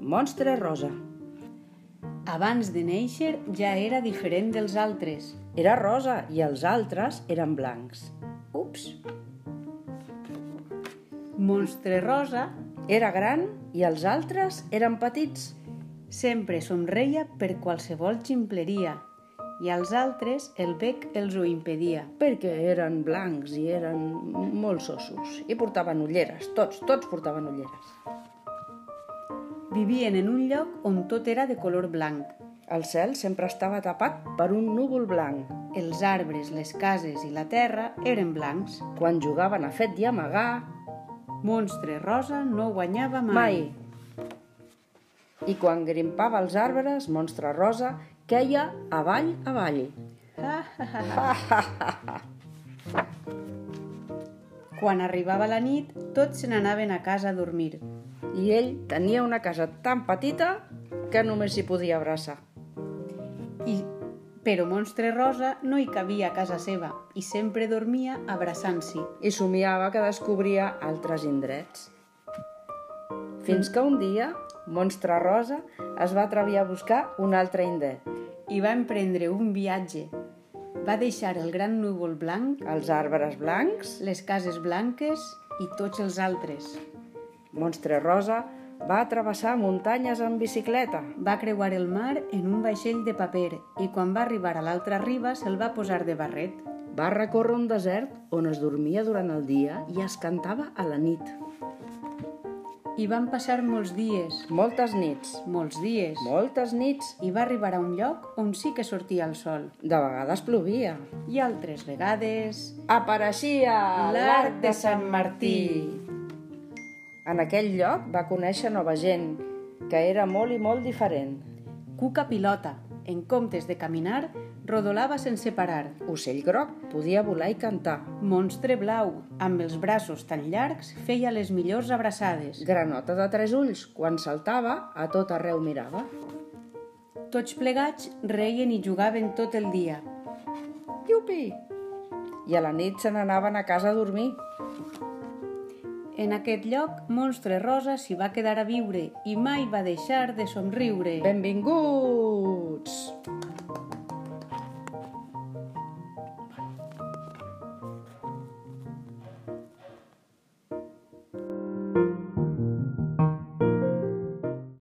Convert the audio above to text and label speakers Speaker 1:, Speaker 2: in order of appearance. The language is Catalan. Speaker 1: monstre rosa.
Speaker 2: Abans de néixer ja era diferent dels altres.
Speaker 1: Era rosa i els altres eren blancs. Ups!
Speaker 2: Monstre rosa
Speaker 1: Era gran i els altres eren petits.
Speaker 2: sempre somreia per qualsevol ximpleria i als altres el bec els ho impedia.
Speaker 1: perquè eren blancs i eren molt sossos i portaven ulleres, tots, tots portaven ulleres.
Speaker 2: Vivien en un lloc on tot era de color blanc.
Speaker 1: El cel sempre estava tapat per un núvol blanc.
Speaker 2: Els arbres, les cases i la terra eren blancs.
Speaker 1: Quan jugaven a fet i amagar,
Speaker 2: Monstre rosa no guanyava mai.
Speaker 1: mai. I quan grimpava els arbres, Monstre Rosa queia avall, avall.
Speaker 2: Ha, ha, ha, ha. Quan arribava la nit, tots se n'anaven a casa a dormir.
Speaker 1: I ell tenia una casa tan petita que només s'hi podia abraçar.
Speaker 2: I... Però Monstre Rosa no hi cabia a casa seva i sempre dormia abraçant-s'hi.
Speaker 1: I somiava que descobria altres indrets. Fins que un dia, Monstre Rosa es va atrevir a buscar un altre indret.
Speaker 2: I va emprendre un viatge. Va deixar el gran núvol blanc,
Speaker 1: Els arbres blancs,
Speaker 2: les cases blanques i tots els altres.
Speaker 1: Monstre Rosa va travessar muntanyes en bicicleta.
Speaker 2: Va creuar el mar en un vaixell de paper i quan va arribar a l'altra riba se'l va posar de barret.
Speaker 1: Va recórrer un desert on es dormia durant el dia i es cantava a la nit.
Speaker 2: I van passar molts dies,
Speaker 1: Moltes nits,
Speaker 2: molts dies.
Speaker 1: moltes nits,
Speaker 2: i va arribar a un lloc on sí que sortia el sol.
Speaker 1: de vegades plovia.
Speaker 2: I altres vegades...
Speaker 1: Apareixia
Speaker 2: L'arc de Sant Martí.
Speaker 1: En aquell lloc va conèixer nova gent, que era molt i molt diferent.
Speaker 2: Cuca pilota, en comptes de caminar, rodolava sense parar.
Speaker 1: Ocell groc podia volar i cantar.
Speaker 2: Monstre blau, amb els braços tan llargs, feia les millors abraçades.
Speaker 1: Granota de tres ulls, quan saltava, a tot arreu mirava.
Speaker 2: Tots plegats reien i jugaven tot el dia.
Speaker 1: Iupi! I a la nit se n'anaven a casa a dormir.
Speaker 2: En aquest lloc, Monstre Rosa s'hi va quedar a viure i mai va deixar de somriure.
Speaker 1: Benvingut!